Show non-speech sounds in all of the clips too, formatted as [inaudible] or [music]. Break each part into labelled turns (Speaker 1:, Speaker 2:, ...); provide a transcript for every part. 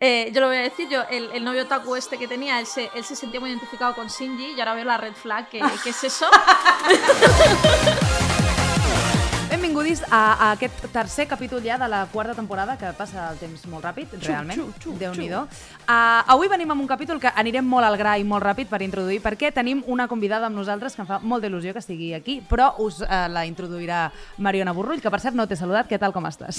Speaker 1: Eh, yo lo voy a decir, yo, el, el novio Taku este que tenía, él se, él se sentía muy identificado con Shinji y ahora veo la red flag, que, que es eso.
Speaker 2: Benvinguts a, a aquest tercer capítol ja de la quarta temporada, que passa el temps molt ràpid, realment, Déu-n'hi-do. Uh, avui venim amb un capítol que anirem molt al gra i molt ràpid per introduir, perquè tenim una convidada amb nosaltres que em fa molta il·lusió que estigui aquí, però us uh, la introduirà Mariona Borrull, que per cert no t'he saludat, què tal, com
Speaker 3: [laughs]
Speaker 2: estàs?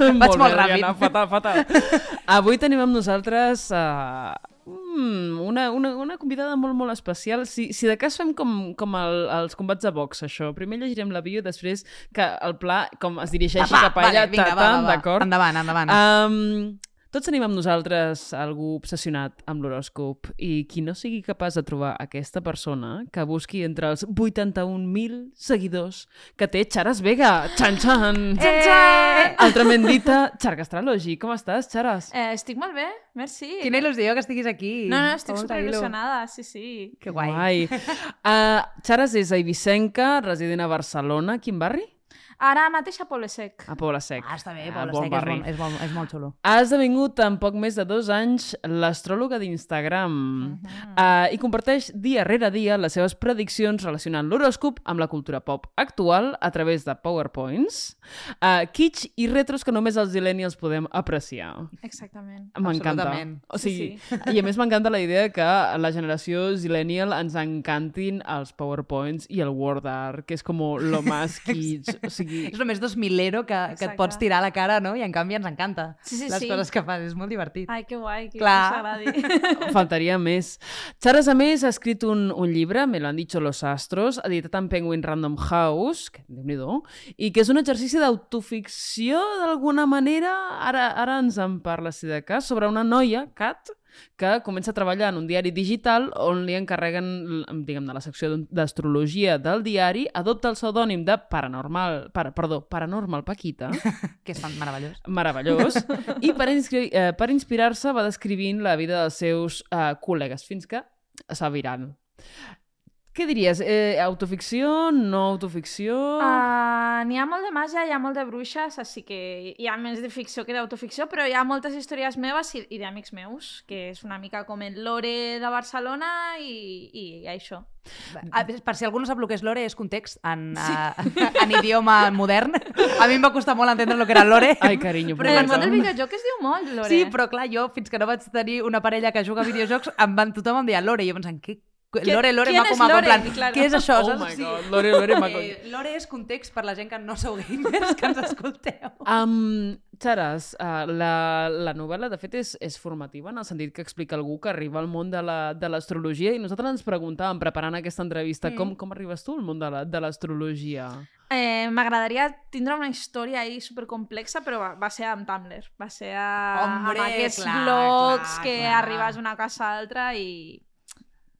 Speaker 2: Vaig molt,
Speaker 3: bé,
Speaker 2: ràpid.
Speaker 3: Diana, fatal, fatal. [laughs] Avui tenim amb nosaltres uh, una, una, una convidada molt, molt especial. Si, si de cas fem com, com el, els combats de box, això. Primer llegirem la bio i després que el pla com es dirigeixi
Speaker 2: Va,
Speaker 3: cap a ella,
Speaker 2: vale, vinga, va,
Speaker 3: ta-tan,
Speaker 2: va, va.
Speaker 3: d'acord?
Speaker 2: Endavant, endavant.
Speaker 3: Um, tots tenim amb nosaltres algú obsessionat amb l'horòscop i qui no sigui capaç de trobar aquesta persona que busqui entre els 81.000 seguidors que té Charas Vega. Txan, txan!
Speaker 2: Eh!
Speaker 3: El tremendita Xarga Astrologi. Com estàs, Xaras?
Speaker 1: Eh, estic molt bé, merci.
Speaker 2: Quina il·lusió que estiguis aquí.
Speaker 1: No, no, estic
Speaker 2: Molta
Speaker 1: super
Speaker 2: il·lu.
Speaker 1: ilusionada, sí, sí.
Speaker 2: Que guai.
Speaker 3: Guai. Uh, Xaras és eivissenca, resident a Barcelona. Quin barri?
Speaker 1: Ara mateix a Poble Sec.
Speaker 3: A Poble Sec.
Speaker 2: Ah, està bé,
Speaker 3: Ah,
Speaker 2: Pablo
Speaker 3: bon
Speaker 2: Sec, és,
Speaker 3: barri.
Speaker 2: molt, és, molt, és molt xulo.
Speaker 3: Ha esdevingut en poc més de dos anys l'astròloga d'Instagram uh
Speaker 2: Mhm.
Speaker 3: -huh. uh, i comparteix dia rere dia les seves prediccions relacionant l'horòscop amb la cultura pop actual a través de powerpoints, uh, kitsch i retros que només els millennials podem apreciar.
Speaker 1: Exactament.
Speaker 3: M'encanta.
Speaker 2: Absolutament.
Speaker 3: O
Speaker 1: Sí,
Speaker 3: sigui, sí, sí. I a més m'encanta la idea que a la generació Zillennial ens encantin els powerpoints i el word art, que és com lo más kitsch. O sigui,
Speaker 2: És només dos milero que, que et
Speaker 1: Exacte.
Speaker 2: pots tirar a la cara, no? I en canvi ens encanta
Speaker 1: Sí, sí,
Speaker 2: les
Speaker 1: sí.
Speaker 2: coses que fas, és molt divertit.
Speaker 1: Ai, que guai, que
Speaker 2: Clar.
Speaker 1: us
Speaker 3: [laughs]
Speaker 1: agradi.
Speaker 3: Faltaria més. Charas, a més, ha escrit un, un llibre, Me lo han dicho los astros, editat en Penguin Random House, que déu nhi i que és un exercici d'autoficció, d'alguna manera, ara, ara ens en parla, si de cas, sobre una noia, Kat, que comença a treballar en un diari digital on li encarreguen, l- diguem de la secció d'on- d'astrologia del diari, adopta el pseudònim de Paranormal, para, perdó, Paranormal Paquita,
Speaker 2: Que és fan- meravellós.
Speaker 3: meravellós, i per, inscri- eh, per inspirar-se va descrivint la vida dels seus eh, col·legues fins que s'aviran. Què diries? Eh, autoficció? No autoficció?
Speaker 1: Uh, n'hi ha molt de màgia, hi ha molt de bruixes, així que hi ha més de ficció que d'autoficció, però hi ha moltes històries meves i, i d'amics meus, que és una mica com el lore de Barcelona i, i, això.
Speaker 2: A- Per si algú no sap el que és l'ore, és context en, sí. a, [laughs] en idioma modern. A mi em va costar molt entendre el que era l'ore.
Speaker 3: Ai, carinyo,
Speaker 1: Però en el
Speaker 3: pobreta.
Speaker 1: món del videojoc es diu molt, lore.
Speaker 2: Sí, però clar, jo fins que no vaig tenir una parella que juga a videojocs, em van, tothom em deia l'ore, i jo pensant, què?
Speaker 1: Què-
Speaker 2: L'ore, l'ore,
Speaker 1: quién
Speaker 2: maco,
Speaker 1: és
Speaker 2: maco, en
Speaker 1: l'ore?
Speaker 2: plan,
Speaker 1: Claro.
Speaker 2: què és això?
Speaker 3: Oh
Speaker 2: saps?
Speaker 3: my
Speaker 2: Sí.
Speaker 3: god, Lore, Lore, maco.
Speaker 2: Eh, L'ore és context per la gent que no sou gamers, que ens escolteu.
Speaker 3: Um, Xaras, uh, la, la novel·la de fet és, és formativa en el sentit que explica algú que arriba al món de la- de l'astrologia la, i nosaltres ens preguntàvem, preparant aquesta entrevista, mm. com, com arribes tu al món de la- de l'astrologia? La,
Speaker 1: Eh, M'agradaria tindre una història ahí supercomplexa, però va, va ser amb Tumblr. Va ser a,
Speaker 2: Hombre,
Speaker 1: amb aquests
Speaker 2: clar,
Speaker 1: blogs
Speaker 2: clar,
Speaker 1: que
Speaker 2: clar.
Speaker 1: arribes d'una casa a l'altra i...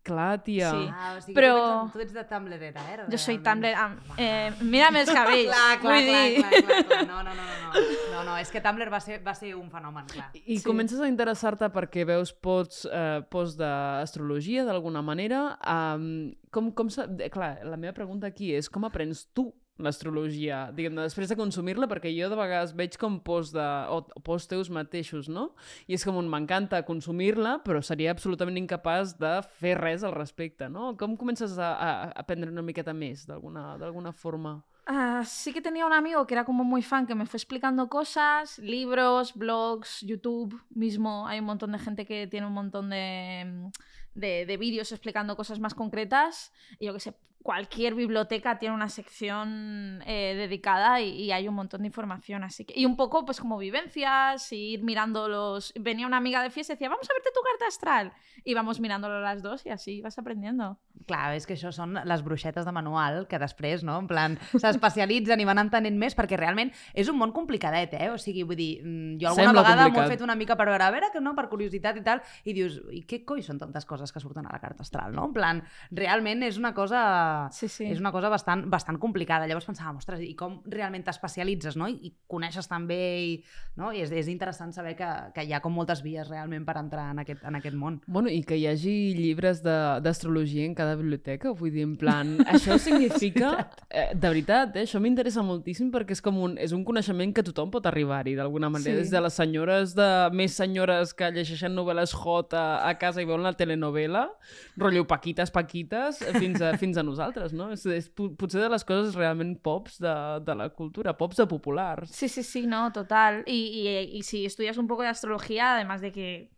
Speaker 3: Clar, tia.
Speaker 1: Sí.
Speaker 2: Ah, o sigui,
Speaker 1: Però-
Speaker 2: tu, ets, tu ets de Tumblrera, eh?
Speaker 1: Jo soy
Speaker 2: realment.
Speaker 1: Tumblr... Amb, eh, mira'm els cabells.
Speaker 2: [laughs] Clar, clar,
Speaker 1: vull
Speaker 2: clar,
Speaker 1: dir.
Speaker 2: clar, clar, clar, no, no, no, no, no, no, no, és que Tumblr va ser, va ser un fenomen, clar.
Speaker 3: I
Speaker 1: Sí.
Speaker 3: sí. comences a interessar-te perquè veus pots, eh, pots d'astrologia d'alguna manera. Um, com, com sa... de- Clar, la meva pregunta aquí és com aprens tu l'astrologia, diguem-ne, després de consumir-la, perquè jo de vegades veig com posts, de, o posts teus mateixos, no? I és com un m'encanta consumir-la, però seria absolutament incapaç de fer res al respecte, no? Com comences a, a a aprendre una miqueta més, d'alguna d'alguna forma?
Speaker 1: Ah, sí que tenía un amigo que era como muy fan, que me fue explicando cosas, libros, blogs, YouTube mismo. Hay un montón de gente que tiene un montón de, mm, de, de vídeos explicando cosas más concretas. Y yo que sé, cualquier biblioteca tiene una sección eh, dedicada y, y hay un montón de información. Así que, y un poco pues como vivencias, y ir mirando los... Venía una amiga de fiesta y decía, vamos a verte tu carta astral. Y vamos mirándolo las dos y así vas aprendiendo.
Speaker 2: Clar, és que això són les bruixetes de manual que després, no?, en plan, s'especialitzen i van entenent més perquè realment és un món complicadet, eh? O sigui, vull dir, mm, jo alguna
Speaker 3: Sembla
Speaker 2: vegada m'ho he
Speaker 3: complicat.
Speaker 2: fet una mica per veure, a veure, que no, per curiositat i tal, i dius, i què coi són tantes coses que surten a la carta astral, no? En plan, realment és una cosa...
Speaker 1: Sí, sí.
Speaker 2: És una cosa bastant, bastant complicada. Llavors pensàvem, ostres, i com realment t'especialitzes, no? I, i coneixes també, i, no? I és, és interessant saber que, que hi ha com moltes vies realment per entrar en aquest, en aquest món.
Speaker 3: Bueno, i que hi hagi llibres de- d'astrologia en cada cada biblioteca, vull dir, en plan, això significa... eh, de veritat, eh, això m'interessa moltíssim perquè és com un, és un coneixement que tothom pot arribar-hi d'alguna manera,
Speaker 2: Sí.
Speaker 3: des de les senyores de, més senyores que llegeixen novel·les J a casa i veuen la telenovela, rotllo Paquites, Paquites, eh, fins a, fins a nosaltres, no? És, és po- potser de les coses realment pops de, de la cultura, pops de populars.
Speaker 1: Sí, sí, sí, no, total. Y, y- y si estudias un poco de astrología, además de que,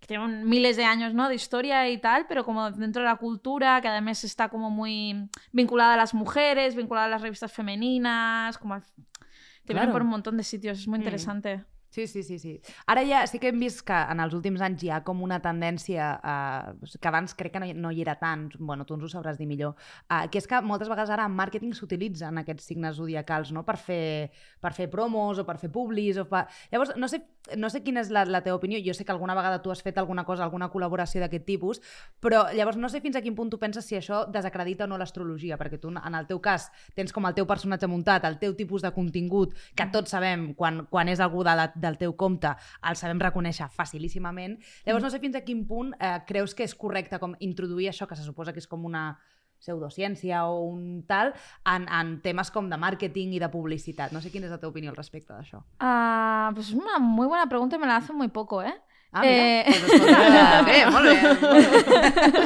Speaker 1: que tienen miles de años ¿no? de historia y tal, pero como dentro de la cultura, que además está como muy vinculada a las mujeres, vinculada a las revistas femeninas, como a- te
Speaker 3: Claro.
Speaker 1: vienen por un montón de sitios, es muy
Speaker 2: Mm.
Speaker 1: interesante.
Speaker 2: Sí, sí, sí, sí. Ara ja sí que hem vist que en els últims anys hi ha com una tendència eh, que abans crec que no hi, no hi era tant, bueno, tu ens ho sabràs dir millor, eh, que és que moltes vegades ara en màrqueting s'utilitzen aquests signes zodiacals, no?, per fer, per fer promos o per fer publis o per... Llavors, no sé, no sé quina és la, la teva opinió, jo sé que alguna vegada tu has fet alguna cosa, alguna col·laboració d'aquest tipus, però llavors no sé fins a quin punt tu penses si això desacredita o no l'astrologia, perquè tu en el teu cas tens com el teu personatge muntat, el teu tipus de contingut, que tots sabem quan, quan és algú de la, del teu compte, el sabem reconèixer facilíssimament. Llavors no sé fins a quin punt eh, creus que és correcte com introduir això que se suposa que és com una pseudociència o un tal en, en temes com de màrqueting i de publicitat. No sé quina és la teva opinió al respecte d'això.
Speaker 1: Ah, pues es una muy buena pregunta y me la hacen muy poco, ¿eh?
Speaker 2: Ah, mira.
Speaker 1: Eh.
Speaker 2: Pues escolta, bé, molt bé. Molt bé.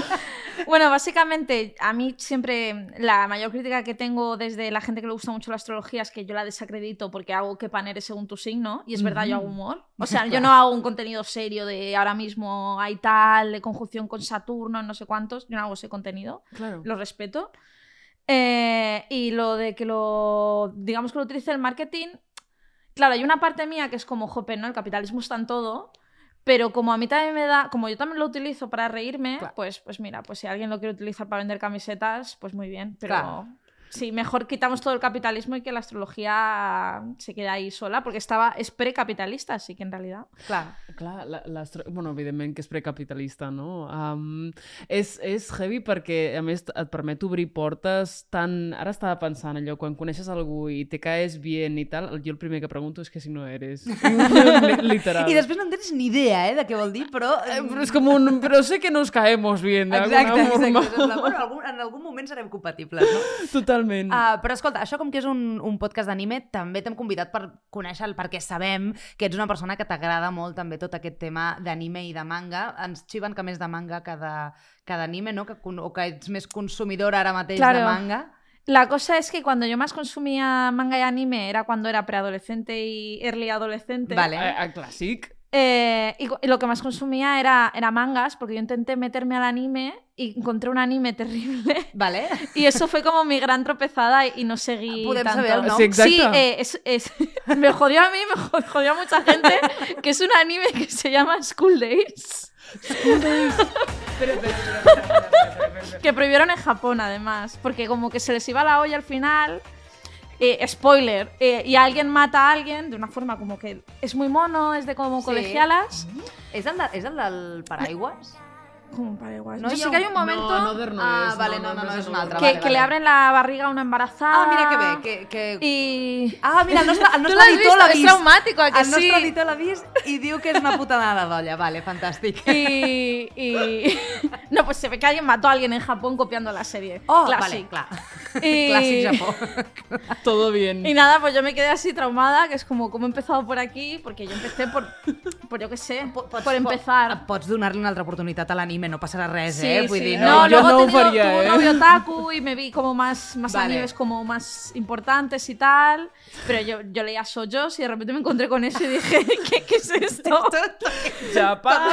Speaker 1: Bueno, básicamente, a mí siempre la mayor crítica que tengo desde la gente que le gusta mucho la astrología es que yo la desacredito porque hago que pan eres según tu signo. Y es verdad, yo hago humor. O sea, yo no hago un contenido serio de ahora mismo hay tal, de conjunción con Saturno, no sé cuántos. Yo no hago ese contenido.
Speaker 3: Claro.
Speaker 1: Lo respeto. Eh, y lo de que lo. digamos que lo utilice el marketing. Claro, hay una parte mía que es como, jope, ¿no? El capitalismo está en todo. Pero como a mí también me da. Como yo también lo utilizo para reírme,
Speaker 2: Claro.
Speaker 1: pues, pues mira, pues si alguien lo quiere utilizar para vender camisetas, pues muy bien. Pero.
Speaker 2: Claro.
Speaker 1: Sí, mejor quitamos todo el capitalismo y que la astrología se quede ahí sola, porque estaba, es precapitalista, así que en realidad.
Speaker 2: Clar.
Speaker 3: Clar, la- l'astro... Bueno, evidentment que és precapitalista, no? Um, és, és heavy perquè, a més, et permet obrir portes tan... Ara estava pensant allò, quan coneixes algú i te caes bien i tal, jo el primer que pregunto és que si no
Speaker 2: [laughs]
Speaker 3: eres. Li- Literal.
Speaker 2: I després no en tens ni idea eh, de què vol dir, però...
Speaker 3: Eh, Però és com un... Però sé que nos caemos bien,
Speaker 2: Exacte,
Speaker 3: d'alguna
Speaker 2: exacte.
Speaker 3: forma.
Speaker 2: és en plan, Bueno, en algun, en algun moment serem compatibles, no?
Speaker 3: Totalment.
Speaker 2: Uh, però escolta, això com que és un, un podcast d'anime, també t'hem convidat per conèixer el perquè sabem que ets una persona que t'agrada molt també tot aquest tema d'anime i de manga. Ens xiven que més de manga que de- que d'anime, no? Que, con- o que ets més consumidora ara mateix de
Speaker 1: Claro.
Speaker 2: manga.
Speaker 1: La cosa es que cuando yo más consumía manga y anime era cuando era preadolescente y early adolescente.
Speaker 2: Vale.
Speaker 3: A, a clàssic.
Speaker 1: Eh, y, cu- y lo que más consumía era, era mangas, porque yo intenté meterme al anime y encontré un anime [laughs] terrible.
Speaker 2: Vale?
Speaker 1: Y eso fue como mi gran tropezada y, y no seguí.
Speaker 2: Podem
Speaker 1: tanto.
Speaker 2: saber el nom?
Speaker 3: Sí, exacte.
Speaker 1: Sí, eh, es, es- [laughs] me jodió a mí, me jo- jodió, a mucha gente, que es un anime que se llama School Days, [laughs] que prohibieron en Japón además, porque como que se les iba la olla al final. eh, spoiler, eh, y alguien mata a alguien de una forma como que es muy mono, es de como
Speaker 2: Sí.
Speaker 1: colegialas.
Speaker 2: És el, de, és el del paraigües?
Speaker 1: Como para igual.
Speaker 2: No
Speaker 1: No,
Speaker 2: hi
Speaker 1: sí
Speaker 2: ha
Speaker 1: que hay
Speaker 2: un-
Speaker 1: un momento
Speaker 3: No, no, no
Speaker 2: Ah,
Speaker 3: és.
Speaker 2: vale, no, no, no, és un altre,
Speaker 1: que,
Speaker 2: vale,
Speaker 1: que le abren la barriga a una embarazada.
Speaker 2: Ah, mira que bé, que... que...
Speaker 1: Y...
Speaker 2: Ah, mira, el nostre,
Speaker 1: [laughs]
Speaker 2: [laughs] el
Speaker 1: Tú
Speaker 2: nostre
Speaker 1: lo has
Speaker 2: editor
Speaker 1: visto,
Speaker 2: l'ha
Speaker 1: es
Speaker 2: vist. Ah,
Speaker 1: traumático, ¿a que
Speaker 2: El
Speaker 1: sí?
Speaker 2: nostre editor l'ha vist i diu que és una puta nada d'olla. Vale, fantàstic.
Speaker 1: Y, y- [laughs] No, pues se ve que alguien mató a alguien en Japón copiando la serie.
Speaker 2: Oh,
Speaker 1: Classic.
Speaker 2: vale, [laughs] clar.
Speaker 1: I-
Speaker 2: Clàssic Japó.
Speaker 3: Todo bien.
Speaker 1: Y nada, pues yo me quedé así traumada, que es como, ¿cómo he empezado por aquí? Porque yo empecé por, por yo qué sé, por,
Speaker 3: Pues
Speaker 1: empezar.
Speaker 2: Pots donar-li una altra oportunitat a l'anime, no passarà res,
Speaker 1: Sí,
Speaker 2: eh? Vull
Speaker 1: sí.
Speaker 2: dir,
Speaker 1: no,
Speaker 3: no, pues yo
Speaker 1: luego
Speaker 3: no
Speaker 1: he tenido-
Speaker 3: faría,
Speaker 1: tuve un
Speaker 3: ¿eh?
Speaker 1: novio otaku y me vi como más, más
Speaker 2: Vale.
Speaker 1: animes como más importantes y tal. Pero yo, yo leía Soyos y de repente me encontré con eso y dije, [laughs] ¿qué, qué es esto?
Speaker 2: [laughs]
Speaker 3: Japan!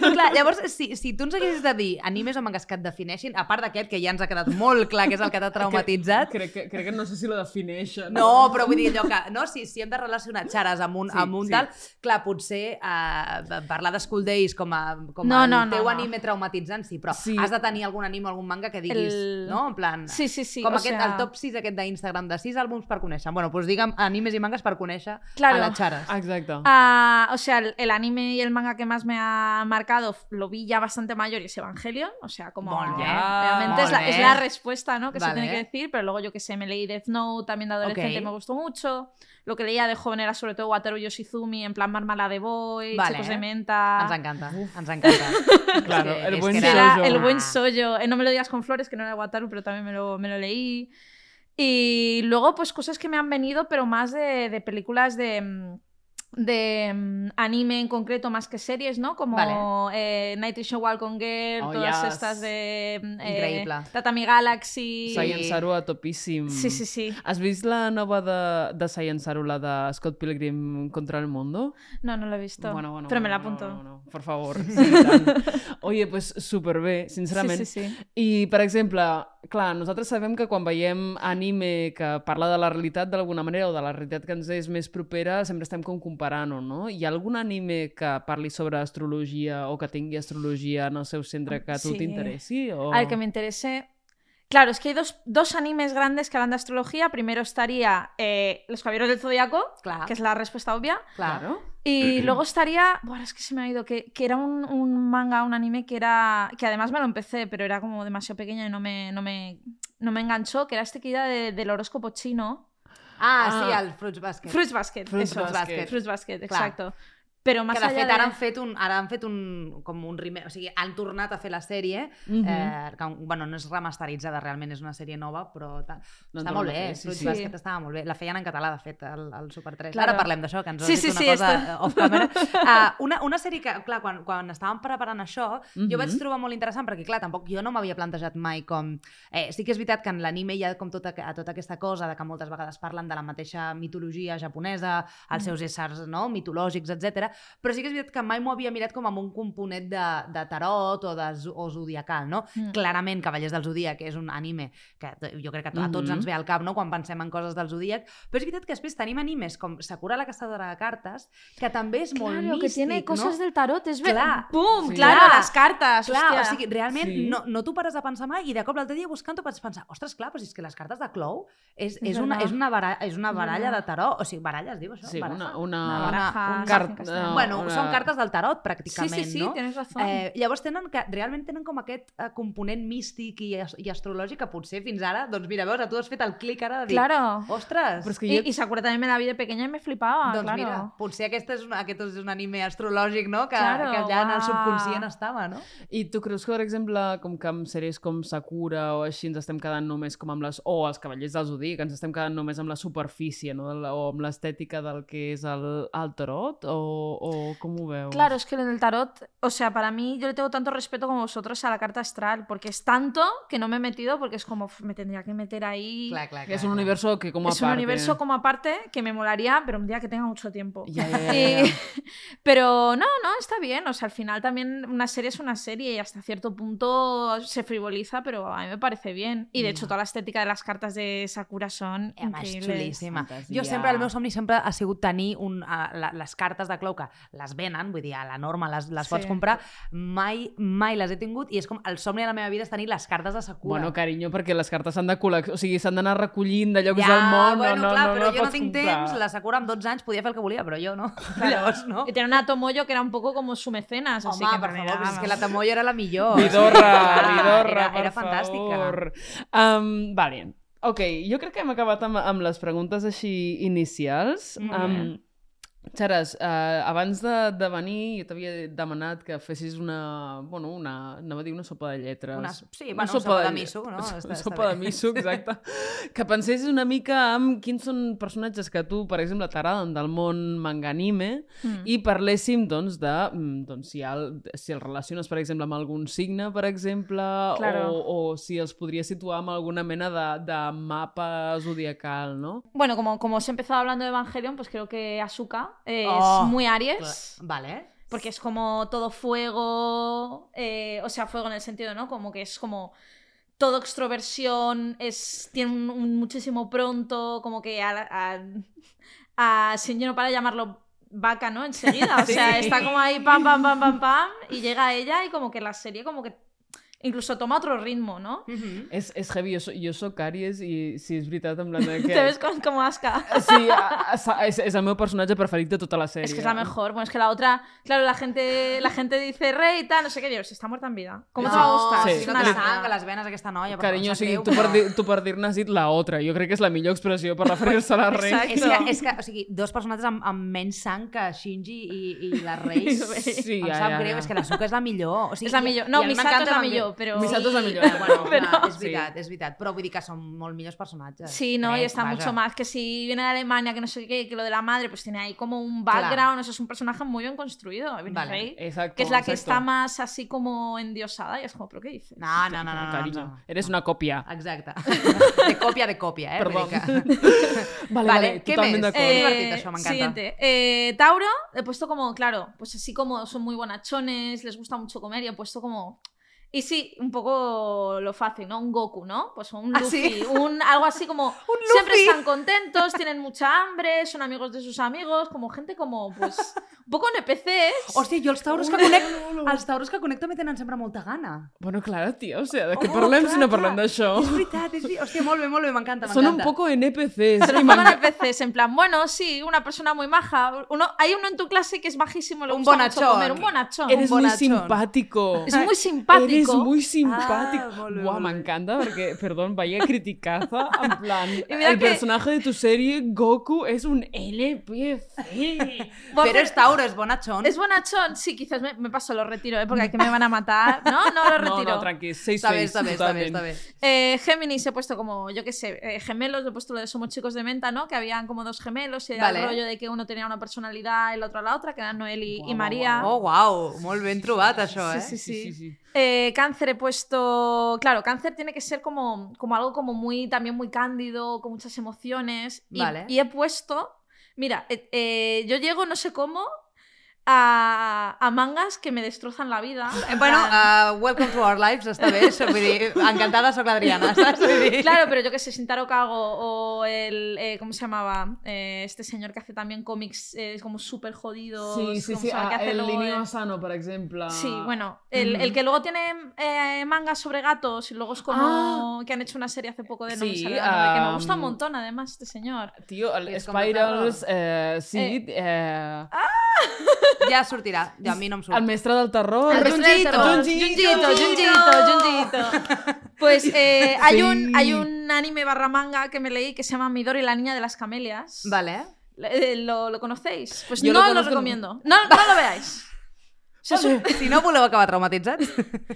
Speaker 2: Clar, llavors, si, si tu ens haguessis de dir animes o mangas que et defineixin, a part d'aquest, que ja ens ha quedat molt clar que és el que t'ha traumatitzat,
Speaker 3: Crec que, crec que no sé si lo defineixen.
Speaker 2: no, però vull dir allò que... No, si, si hem de relacionar xares amb un,
Speaker 3: Sí,
Speaker 2: amb un
Speaker 3: sí.
Speaker 2: tal... Clar, potser eh, parlar de School Days com a, com
Speaker 1: No,
Speaker 2: el
Speaker 1: no, no,
Speaker 2: teu
Speaker 1: no.
Speaker 2: anime traumatitzant, sí, però
Speaker 3: Sí.
Speaker 2: has de tenir algun anime o algun manga que diguis,
Speaker 1: El-
Speaker 2: no? En plan...
Speaker 1: Sí, sí, sí.
Speaker 2: com
Speaker 1: o
Speaker 2: aquest,
Speaker 1: sea,
Speaker 2: el top 6 aquest d'Instagram de 6 àlbums per conèixer. Bueno, doncs digue'm animes i mangas per conèixer
Speaker 1: Claro.
Speaker 2: a la Charas.
Speaker 3: Exacte.
Speaker 1: Ah, o sea, el, el anime y el manga que más me ha marcado f- lo vi ya bastante mayor y es Evangelion. O sea, como
Speaker 2: Molt bé,
Speaker 1: obviamente es
Speaker 2: molt
Speaker 1: eh? la,
Speaker 2: bé.
Speaker 1: es la respuesta ¿no? que
Speaker 2: Vale.
Speaker 1: se tiene que decir, pero luego yo que sé, me leí Death Note también de adolescente,
Speaker 2: Ok.
Speaker 1: me gustó mucho. lo que leía de joven era sobre todo Wataru Yoshizumi, en plan Marmalade Boy,
Speaker 2: Vale.
Speaker 1: Chicos de Menta.
Speaker 2: Ens encanta, ens
Speaker 1: [laughs]
Speaker 2: encanta.
Speaker 3: Claro,
Speaker 2: És que-
Speaker 3: el
Speaker 2: és
Speaker 3: buen
Speaker 2: que
Speaker 1: que
Speaker 2: era-
Speaker 1: era
Speaker 3: Soyo.
Speaker 1: el buen sollo. Eh, no me lo digas con flores, que no era Wataru, pero también me lo, me lo leí. Y luego, pues cosas que me han venido, pero más de, de películas de, mm, de mm, anime en concreto, más que series, ¿no? Como eh, Night is Welcome Girl,
Speaker 3: Oh,
Speaker 1: todas
Speaker 3: yes.
Speaker 1: estas de... mm, eh,
Speaker 2: Increíble.
Speaker 1: Tatami Galaxy...
Speaker 3: Science Saru a topíssim.
Speaker 1: Sí, sí, sí.
Speaker 3: Has vist la nova de, de Science Saru, la de Scott Pilgrim contra el mundo?
Speaker 1: No, no lo he visto.
Speaker 3: Bueno, bueno,
Speaker 1: pero me
Speaker 3: bueno,
Speaker 1: la apunto.
Speaker 3: bueno, bueno, bueno, por favor.
Speaker 1: [laughs]
Speaker 3: sí, i tant. Oye, pues superbé, sincerament.
Speaker 1: Sí, sí, sí.
Speaker 3: I, per exemple, clar, nosaltres sabem que quan veiem anime que parla de la realitat d'alguna manera o de la realitat que ens és més propera, sempre estem com comparant-ho, no? Hi ha algun anime que parli sobre astrologia o que tingui astrologia en el seu centre que a tu
Speaker 1: Sí.
Speaker 3: t'interessi? O...
Speaker 1: Al que me interese. Claro, es que hay dos, dos animes grandes que hablan de astrología. Primero estaría eh, Los Caballeros del Zodiaco,
Speaker 2: Clar,
Speaker 1: que es la respuesta obvia.
Speaker 2: clar.
Speaker 1: Y luego estaría. Bueno, es que se me ha ido, que, que era un, un manga, un anime que era. que además me lo empecé, pero era como demasiado pequeña y no me, no me, no me enganchó, que era este que iba de- del horóscopo chino.
Speaker 2: Ah,
Speaker 3: Ah.
Speaker 2: sí, el Fruits Basket.
Speaker 1: Fruits Basket,
Speaker 3: Fruits
Speaker 1: eso.
Speaker 2: Fruits
Speaker 3: Basket.
Speaker 2: Basket.
Speaker 1: Fruits Basket,
Speaker 2: Clar.
Speaker 1: exacto. Pero más
Speaker 2: que de
Speaker 1: allá
Speaker 2: fet
Speaker 1: de-
Speaker 2: ara han fet un, ara han fet un, com un remake, o sigui, han tornat a fer la sèrie,
Speaker 3: Mhm.
Speaker 2: eh, que, bueno, no és remasteritzada, realment és una sèrie nova, però ta,
Speaker 3: No
Speaker 2: està
Speaker 3: torna
Speaker 2: molt
Speaker 3: a fer,
Speaker 2: bé,
Speaker 3: sí,
Speaker 2: Fruits
Speaker 3: sí.
Speaker 2: Basket estava molt bé. La feien en català, de fet, al, al Super 3.
Speaker 1: Claro.
Speaker 2: Ara parlem d'això, que ens
Speaker 1: Sí,
Speaker 2: has dit
Speaker 1: sí,
Speaker 2: una
Speaker 1: sí,
Speaker 2: cosa
Speaker 1: esto.
Speaker 2: eh, off camera.
Speaker 1: [laughs]
Speaker 2: Uh, una, una sèrie que, clar, quan, quan estàvem preparant això, jo vaig
Speaker 3: Mhm.
Speaker 2: trobar molt interessant, perquè, clar, tampoc jo no m'havia plantejat mai com... Eh, sí que és veritat que en l'anime hi ha com tota, a tota aquesta cosa de que moltes vegades parlen de la mateixa mitologia japonesa,
Speaker 1: Mm.
Speaker 2: els seus éssers no? mitològics, etc. Però sí que és veritat que mai m'ho havia mirat com amb un component de, de tarot o, de, zo- o zodiacal, no?
Speaker 1: Mm.
Speaker 2: Clarament, Cavallers del Zodíac que és un anime que t- jo crec que a to- a tots
Speaker 3: Mhm.
Speaker 1: Mm-hmm.
Speaker 2: ens ve al cap, no?, quan pensem en coses del Zodíac. Però és veritat que després tenim animes com Sakura la caçadora de cartes, que també és molt
Speaker 1: Claro,
Speaker 2: místic,
Speaker 1: que tiene cosas
Speaker 2: no?
Speaker 1: del tarot, es verdad.
Speaker 2: Clar.
Speaker 1: ¡Pum!
Speaker 3: Sí.
Speaker 1: Claro,
Speaker 2: Clar.
Speaker 1: las cartas.
Speaker 2: Clar,
Speaker 1: hostia.
Speaker 2: o sigui, realment
Speaker 3: Sí.
Speaker 2: no, no t'ho pares a pensar mai i de cop l'altre dia buscant-ho vaig pensar ostres, clar, però si és que les cartes de Clou és, és, una,
Speaker 1: verdad.
Speaker 2: és, una, baralla, és una
Speaker 1: És
Speaker 2: baralla de
Speaker 1: verdad.
Speaker 2: tarot, o sigui, baralla es diu això?
Speaker 3: Sí,
Speaker 2: Baraja?
Speaker 3: una, Ah, una...
Speaker 1: Una
Speaker 2: Una-
Speaker 1: baraja,
Speaker 2: un
Speaker 1: no sé
Speaker 3: cart-
Speaker 1: en castellano.
Speaker 3: no,
Speaker 2: bueno,
Speaker 3: una-
Speaker 2: són cartes del tarot,
Speaker 1: Sí,
Speaker 2: pràcticament,
Speaker 1: sí, sí,
Speaker 2: no?
Speaker 1: tienes razón.
Speaker 2: Eh, llavors tenen que, realment tenen com aquest eh, component místic i, as- i astrològic que potser fins ara, doncs mira, veus, tu has fet el clic ara de dir,
Speaker 1: claro.
Speaker 2: ostres,
Speaker 3: Però és que
Speaker 1: Y,
Speaker 3: jo...
Speaker 1: y Sakura también me la vi de pequeña y me flipaba,
Speaker 2: doncs
Speaker 1: claro.
Speaker 2: mira, potser aquest és, un, aquest és un anime astrològic, no?, que,
Speaker 1: Claro,
Speaker 2: que ja en el
Speaker 1: uau.
Speaker 2: subconscient estava, no?
Speaker 3: I tu creus que, per exemple, com que amb sèries com Sakura o així ens estem quedant només com amb les... o els Cavallers del Zodíac, ens estem quedant només amb la superfície, no? Del- o amb l'estètica del que és el, el tarot? O, o com ho veus?
Speaker 1: Claro, es que lo del tarot, o sea, para mí yo le tengo tanto respeto como vosotros a la carta astral, porque es tanto que no me he metido, porque es como "Uf, me tendría que meter ahí.
Speaker 2: Clar, clar, clar.
Speaker 3: És un
Speaker 2: clar.
Speaker 3: universo que com a
Speaker 1: es un universo como aparte que me molaría, pero un día que tenga mucho tiempo. [laughs]
Speaker 3: Ja, ja, ja,
Speaker 1: Eh,
Speaker 3: ja,
Speaker 2: [laughs]
Speaker 3: ja.
Speaker 1: pero no, no, está bien. O sea, al final también una serie es una serie y hasta cierto punto se frivoliza, pero a mí me parece bien. Y de hecho,
Speaker 3: Ya.
Speaker 1: toda la estética de las cartas de Sakura son
Speaker 2: Eh, home, és
Speaker 1: increíbles.
Speaker 2: xulíssima.
Speaker 3: Fantasia.
Speaker 2: Jo sempre, el meu somni sempre ha sigut tenir un, a, la, les cartes de clau que les venen, vull dir, a la norma les, les
Speaker 1: Sí.
Speaker 2: pots comprar, mai, mai les he tingut i és com el somni de la meva vida és tenir les cartes de Sakura.
Speaker 3: Bueno, carinyo, perquè les cartes s'han de col·leccionar, o sigui, s'han d'anar recollint de llocs
Speaker 2: ja,
Speaker 3: del món,
Speaker 2: bueno,
Speaker 3: no, no,
Speaker 2: clar,
Speaker 3: no,
Speaker 2: però
Speaker 3: no,
Speaker 2: jo no
Speaker 3: pots
Speaker 2: tinc
Speaker 3: comprar.
Speaker 2: temps, la Sakura amb 12 anys podia fer el que volia, però jo
Speaker 3: [laughs]
Speaker 2: no. Llavors, no?
Speaker 1: Y tenía una Tomoyo que era un poco como su mecenas. así
Speaker 2: Home,
Speaker 1: que en
Speaker 2: per
Speaker 1: realidad,
Speaker 2: favor, però és que la
Speaker 1: vamos.
Speaker 2: Tamoyo era la millor.
Speaker 3: Vidorra,
Speaker 2: Oh, Ah,
Speaker 3: Vidorra,
Speaker 2: era,
Speaker 3: per
Speaker 2: era fantàstica.
Speaker 3: favor. Um, vale. Ok, jo crec que hem acabat amb, amb les preguntes així inicials.
Speaker 1: Molt
Speaker 3: Um, Xares, uh, abans de, de venir jo t'havia demanat que fessis una, bueno, una, anava a dir una sopa de lletres.
Speaker 2: Una- sí, bueno, sopa de
Speaker 3: llet-
Speaker 2: miso, no?
Speaker 3: [laughs] so-
Speaker 2: Està- està
Speaker 3: sopa de
Speaker 2: bé.
Speaker 3: miso,
Speaker 2: [laughs]
Speaker 3: exacte. que pensessis una mica en quins són personatges que a tu, per exemple, t'agraden del món manga anime,
Speaker 1: Mm.
Speaker 3: i parléssim, doncs, de mm, doncs, si, el, si el relaciones, per exemple, amb algun signe, per exemple,
Speaker 1: Claro.
Speaker 3: o, o si els podria situar amb alguna mena de, de mapa zodiacal, no?
Speaker 1: Bueno, como, como os he empezado hablando de Evangelion, pues creo que Asuka eh,
Speaker 2: Oh,
Speaker 1: es muy Aries.
Speaker 2: Clar, Vale.
Speaker 1: Porque es como todo fuego, eh, o sea, fuego en el sentido, ¿no? Como que es como todo extroversión, es, tiene un, un muchísimo pronto, como que a, a, a Shinji no para de llamarlo vaca, ¿no? Enseguida, o sea,
Speaker 2: [laughs] Sí.
Speaker 1: está como ahí pam, pam, pam, pam, pam, y llega ella y como que la serie como que incluso toma otro ritmo, ¿no?
Speaker 3: És, és heavy, jo, so, jo soc àries i si és veritat, en plan...
Speaker 1: [laughs]
Speaker 3: de Que...
Speaker 1: Te ves con, como asca.
Speaker 3: Sí, a, a, a, és, és el meu personatge preferit de tota la sèrie.
Speaker 1: Es que es la mejor. Bueno, es que la otra, claro, la gente, la gente dice rey y tal, no sé qué, yo, si está muerta en vida. ¿Cómo te va a gustar?
Speaker 3: sí.
Speaker 1: Si es
Speaker 2: Això
Speaker 1: una
Speaker 2: de la
Speaker 1: lacra.
Speaker 2: sang, a les venes aquesta noia... per
Speaker 3: Carinyo,
Speaker 2: favor,
Speaker 3: o
Speaker 2: sap
Speaker 3: sigui,
Speaker 2: greu,
Speaker 3: tu per,
Speaker 2: però-
Speaker 3: dir, tu per dir-ne has dit la otra. Jo crec que és la millor expressió per referir-se a la rei.
Speaker 1: Exacte.
Speaker 2: [laughs] És que, és que, o sigui, dos personatges amb, amb menys sang que Shinji i, i la Rei.
Speaker 3: [laughs] Sí,
Speaker 2: em
Speaker 3: ja,
Speaker 2: sap
Speaker 3: ja,
Speaker 2: greu,
Speaker 3: ja.
Speaker 2: és que la Suka és la millor. O sigui,
Speaker 1: És la
Speaker 2: i-
Speaker 1: millor. No,
Speaker 2: i el
Speaker 1: Misato
Speaker 2: Makoto
Speaker 1: és la
Speaker 2: també.
Speaker 1: millor, però-
Speaker 3: Misato és la millor,
Speaker 2: Sí, Bueno,
Speaker 3: [laughs]
Speaker 1: però-
Speaker 2: clar, és
Speaker 3: Sí.
Speaker 2: veritat, és veritat. Però vull dir que són molt millors personatges.
Speaker 1: Sí, no, y
Speaker 2: Crec,
Speaker 1: está
Speaker 2: vaja.
Speaker 1: mucho más que si viene de Alemania, que no sé qué, que lo de la madre, pues tiene ahí como un background,
Speaker 2: Claro.
Speaker 1: eso es un personaje muy bien construido, Evelyn
Speaker 2: Vale.
Speaker 1: Rey,
Speaker 3: Exacto,
Speaker 1: que es la que
Speaker 3: exacto.
Speaker 1: está más así como endiosada y es como, ¿pero qué dices?
Speaker 2: No, no, no, no, no,
Speaker 3: Carinyo,
Speaker 2: no.
Speaker 3: eres una còpia.
Speaker 1: Ah.
Speaker 3: [laughs]
Speaker 2: Exacte. De còpia de còpia, eh?
Speaker 3: Perdó.
Speaker 2: Vull dir que- Vale,
Speaker 3: Vale, vale,
Speaker 2: què més? [laughs]
Speaker 3: totalment d'acord.
Speaker 2: Eh, divertido, eso me encanta.
Speaker 1: Siguiente. Eh, Tauro, he puesto como, claro, pues así como son muy bonachones, les gusta mucho comer y he puesto como... Y sí, un poco lo fácil, ¿no? Un Goku, ¿no? Pues un
Speaker 2: Ah,
Speaker 1: Luffy,
Speaker 2: sí.
Speaker 1: un, algo así
Speaker 2: [laughs]
Speaker 1: como...
Speaker 2: Luffy.
Speaker 1: Siempre están contentos, tienen mucha hambre, son amigos de sus amigos, como gente como, pues... Un poco
Speaker 2: [laughs]
Speaker 1: NPCs.
Speaker 2: Hòstia, jo els tauros que conec... Els tauros que conec també tenen sempre molta gana.
Speaker 3: Bueno, claro, tio, o sea, de què
Speaker 2: Oh,
Speaker 3: parlem
Speaker 2: clar,
Speaker 3: si no
Speaker 2: clar.
Speaker 3: parlem d'això?
Speaker 2: És veritat, és veritat. Hòstia, molt bé, molt bé, m'encanta, m'encanta.
Speaker 3: Són un poco NPCs.
Speaker 1: Pero
Speaker 3: i
Speaker 1: un poco
Speaker 3: m'enca-
Speaker 1: NPCs, en plan, bueno, sí, una persona muy maja. Uno, hay uno en tu clase que es majísimo, le
Speaker 2: Un
Speaker 1: gusta mucho
Speaker 2: bonachón.
Speaker 1: comer. Un bonachón.
Speaker 3: Eres muy
Speaker 2: bonachón.
Speaker 3: simpático.
Speaker 1: Es muy simpático.
Speaker 3: Eres muy simpático.
Speaker 2: Ah, molt bé,
Speaker 3: Buah,
Speaker 2: molt bé.
Speaker 3: m'encanta perquè, perdón, vaya criticaza. En plan,
Speaker 1: [laughs] mira
Speaker 3: el
Speaker 1: que-
Speaker 3: personaje de tu serie, Goku, es un LPC.
Speaker 1: Bueno,
Speaker 2: Però és tauro, és bonachón.
Speaker 1: Es bonachón, sí, quizás me, me paso, lo retiro, ¿eh? porque aquí me van a
Speaker 3: [laughs]
Speaker 1: matar. No, no lo
Speaker 3: No,
Speaker 1: retiro.
Speaker 3: no, tranqui, 6
Speaker 2: Està bé, està bé, està bé, està bé.
Speaker 1: Eh, Géminis he puesto como, yo qué sé, eh, gemelos, he puesto lo de somos chicos de menta, ¿no? Que habían como dos gemelos y era
Speaker 2: Vale.
Speaker 1: el rollo de que uno tenía una personalidad y el otro la otra, que eran Noel y, y
Speaker 3: Guau,
Speaker 1: María.
Speaker 2: Oh, uau, molt ben trobat, això, eh?
Speaker 1: Sí, sí, sí.
Speaker 3: Sí, sí, sí.
Speaker 1: Eh, cáncer he puesto, claro, cáncer tiene que ser como, como algo como muy, también muy cándido, con muchas emociones. Y,
Speaker 2: Vale.
Speaker 1: y he puesto, mira, eh, eh, yo llego no sé cómo a, a mangas que me destrozan la vida.
Speaker 2: Eh,
Speaker 1: En
Speaker 2: Bueno,
Speaker 1: plan-
Speaker 2: uh, welcome to our lives, està bé, això, vull dir, encantada sóc
Speaker 1: [laughs]
Speaker 2: l'Adriana, saps? Vull dir...
Speaker 1: Claro, pero yo que sé, Sintaro Kago o el. eh, ¿Cómo se llamaba? Eh, este señor que hace también cómics eh, como súper jodidos.
Speaker 3: Sí, sí,
Speaker 1: ¿cómo
Speaker 3: sí.
Speaker 1: se llama?
Speaker 3: Ah,
Speaker 1: Que hace
Speaker 3: el Ah.
Speaker 1: luego,
Speaker 3: Linneo
Speaker 1: eh,
Speaker 3: Asano, per exemple.
Speaker 1: Sí, bueno, el, el que luego tiene eh, mangas sobre gatos y luego es como que han hecho una serie hace poco de no me
Speaker 3: Ah. Sí, um,
Speaker 1: sale el nombre, que me gusta un
Speaker 3: am,
Speaker 1: montón además este señor.
Speaker 3: Tio, el
Speaker 2: És com
Speaker 3: Spirals, eh, sí,
Speaker 1: Eh.
Speaker 3: eh,
Speaker 2: Ja sortirà, jo a mi no em surt.
Speaker 3: el mestre del terror.
Speaker 1: El
Speaker 2: Junjito,
Speaker 1: Junjito,
Speaker 3: Junjito,
Speaker 1: Junjito, Junjito, Junjito. Pues eh, hay,
Speaker 3: Sí.
Speaker 1: un, hay un anime barra manga que me leí que se llama Midori, la niña de las camelias.
Speaker 2: Vale.
Speaker 1: Eh, ¿Lo, lo conocéis? Pues
Speaker 3: Yo lo
Speaker 1: no lo,
Speaker 3: conozco.
Speaker 1: recomiendo. No, no lo veáis. O sea, es un-
Speaker 2: Si no voleu acabar traumatitzats.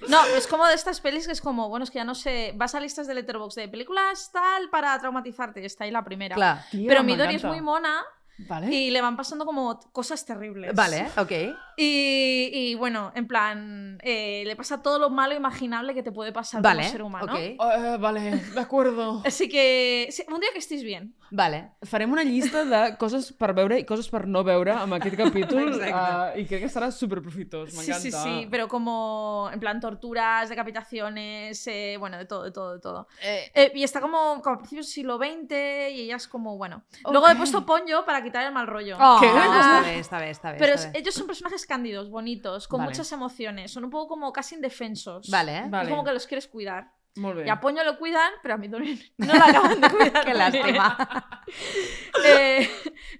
Speaker 1: no, es como de estas pelis que es como, bueno, es que ya no sé, vas a listas de Letterboxd de películas tal para traumatizarte y está ahí la primera.
Speaker 2: Clar.
Speaker 3: Tio,
Speaker 1: Pero Midori es
Speaker 3: m'encanta.
Speaker 1: muy mona
Speaker 3: Vale.
Speaker 1: y le van pasando como cosas terribles.
Speaker 2: Vale, ok.
Speaker 1: Y, y bueno, en plan, eh, le pasa todo lo malo imaginable que te puede pasar
Speaker 2: Vale,
Speaker 1: como ser humano.
Speaker 2: ok.
Speaker 3: Eh, vale, d'acord.
Speaker 1: Así que sí, un día que estéis bien.
Speaker 2: Vale.
Speaker 3: Farem una llista de coses per veure i coses per no veure amb aquest capítol [laughs]
Speaker 2: Exacte.
Speaker 3: uh, i crec que serà superprofitós,
Speaker 1: Sí,
Speaker 3: m'encanta.
Speaker 1: sí, sí, pero como en plan torturas, decapitaciones, eh, bueno, de todo, de todo, de todo. Eh, y está como, como a principios del siglo XX y ella es como, bueno. Luego he puesto Ponyo para quitar el mal rollo.
Speaker 2: Oh,
Speaker 3: Què?
Speaker 1: Ah.
Speaker 2: Està bé, està bé, està bé.
Speaker 1: Pero
Speaker 2: està
Speaker 1: es-
Speaker 2: bé.
Speaker 1: ellos son personajes cándidos, bonitos, con
Speaker 3: Vale.
Speaker 1: muchas emociones, son un poco como casi indefensos.
Speaker 2: Vale. eh?
Speaker 1: Es
Speaker 3: Vale.
Speaker 1: como que los quieres cuidar.
Speaker 3: Molt bé.
Speaker 1: Y a Ponyo lo cuidan, pero a Midori [laughs] no la acaban de cuidar.
Speaker 2: Que
Speaker 1: muy bien.
Speaker 2: lástima.
Speaker 1: [laughs] Eh,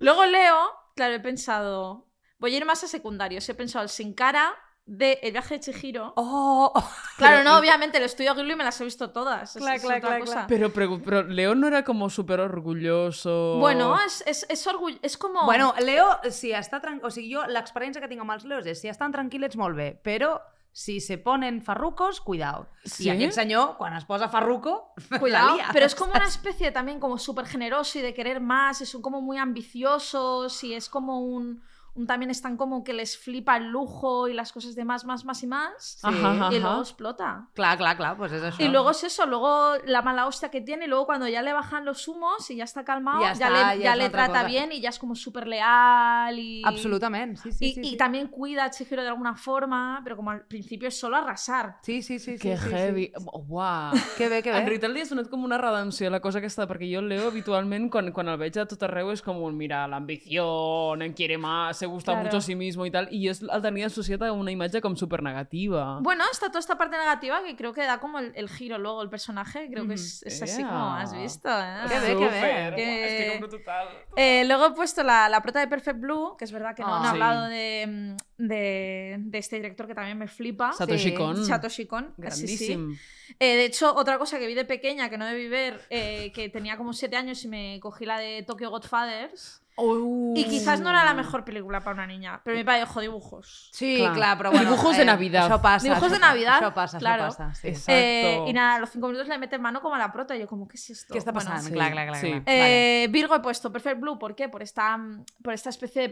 Speaker 1: luego leo, claro, he pensado, voy a ir más a secundarios. He pensado el Sin Cara de El viaje de Chihiro.
Speaker 2: Oh, oh.
Speaker 1: claro, no, obviamente, el estudio Ghibli me las he visto todas. es-
Speaker 2: Clar,
Speaker 1: es
Speaker 2: clar,
Speaker 1: otra
Speaker 2: clar,
Speaker 1: cosa.
Speaker 2: clar.
Speaker 3: Però, però, però Leo no era como súper orgulloso.
Speaker 1: Bueno, es, es, es orgull- es como...
Speaker 2: Bueno, Leo, si està tran... o sigui, jo l'experiència que tinc amb els Leos és si estan tranquil·lets, molt bé, però si se ponen farrucos, cuidao.
Speaker 3: Sí?
Speaker 2: I aquest senyor, quan es posa farruco, [laughs]
Speaker 1: Cuidado,
Speaker 2: la lia.
Speaker 1: pero es como una especie también como súper generoso y de querer más, y son como muy ambiciosos y es como un, un también están como que les flipa el lujo y las cosas de más, más, más y más
Speaker 2: Sí.
Speaker 3: Ajá,
Speaker 1: y
Speaker 3: ajá.
Speaker 1: luego explota.
Speaker 2: Clar, clar, clar, doncs és això.
Speaker 1: Y luego es eso, luego la mala hostia que tiene, y luego cuando ya le bajan los humos y ya está calmado,
Speaker 2: Ya
Speaker 1: ya,
Speaker 2: está,
Speaker 1: le,
Speaker 2: ya
Speaker 1: ya
Speaker 2: es
Speaker 1: le
Speaker 2: otra
Speaker 1: trata
Speaker 2: cosa.
Speaker 1: bien y ya es como súper leal y...
Speaker 2: Absolutament, sí, sí,
Speaker 1: Y,
Speaker 2: sí.
Speaker 1: y
Speaker 2: sí.
Speaker 1: también cuida a Chihiro de alguna forma, pero como al principio es solo arrasar.
Speaker 2: Sí, sí, sí. sí,
Speaker 3: Que
Speaker 2: sí, sí.
Speaker 3: heavy. Uau.
Speaker 2: Que bé, que
Speaker 3: En
Speaker 2: bé.
Speaker 3: realitat li ha sonat com una redempció la cosa aquesta, perquè jo el Leo habitualment quan, quan el veig a tot arreu és com un, mira, l'ambició, en quiere más, se gusta
Speaker 1: Claro.
Speaker 3: mucho a sí mismo y tal, y es, el tenia associat a una imatge com super negativa.
Speaker 1: Bueno, está toda esta parte negativa que creo que da como el, el giro luego el personaje. Creo que es, es así
Speaker 3: Ea.
Speaker 1: como has visto. ¿eh?
Speaker 2: Qué bé, que bé.
Speaker 1: Que-
Speaker 4: Es que compro total.
Speaker 1: Eh, luego he puesto la, la prota de Perfect Blue, que es verdad que no
Speaker 2: Ah.
Speaker 1: han
Speaker 3: Sí.
Speaker 1: hablado de, mm, de, de este director que también me flipa.
Speaker 3: Satoshi
Speaker 2: sí.
Speaker 3: Kon.
Speaker 1: Ah, Satoshi Kon, sí, sí.
Speaker 3: Grandíssim.
Speaker 1: Eh, de hecho, otra cosa que vi de pequeña que no debí ver, eh, que tenía como 7 años y me cogí la de Tokyo Godfathers.
Speaker 2: Oh.
Speaker 3: Uh.
Speaker 1: Y quizás no era la mejor película para una niña, pero mi padre dijo dibujos.
Speaker 2: Sí,
Speaker 3: Clar.
Speaker 2: clar, però bueno... eh,
Speaker 3: Dibujos de Navidad.
Speaker 2: Això passa.
Speaker 1: Dibujos
Speaker 2: això
Speaker 1: de
Speaker 2: pa-
Speaker 1: Navidad,
Speaker 2: Això passa,
Speaker 1: claro.
Speaker 2: això passa. Sí.
Speaker 3: Exacto.
Speaker 1: Eh, y nada, a los 5 minutos le meten mano como a la prota. Y yo, como, ¿qué es esto?
Speaker 2: Què està
Speaker 1: Bueno,
Speaker 2: passant?
Speaker 3: sí.
Speaker 2: Clar, clar, clar.
Speaker 3: Sí.
Speaker 2: clar. Vale.
Speaker 1: Eh, Virgo he puesto Perfect Blue, ¿por qué? Por esta, mm, por esta especie de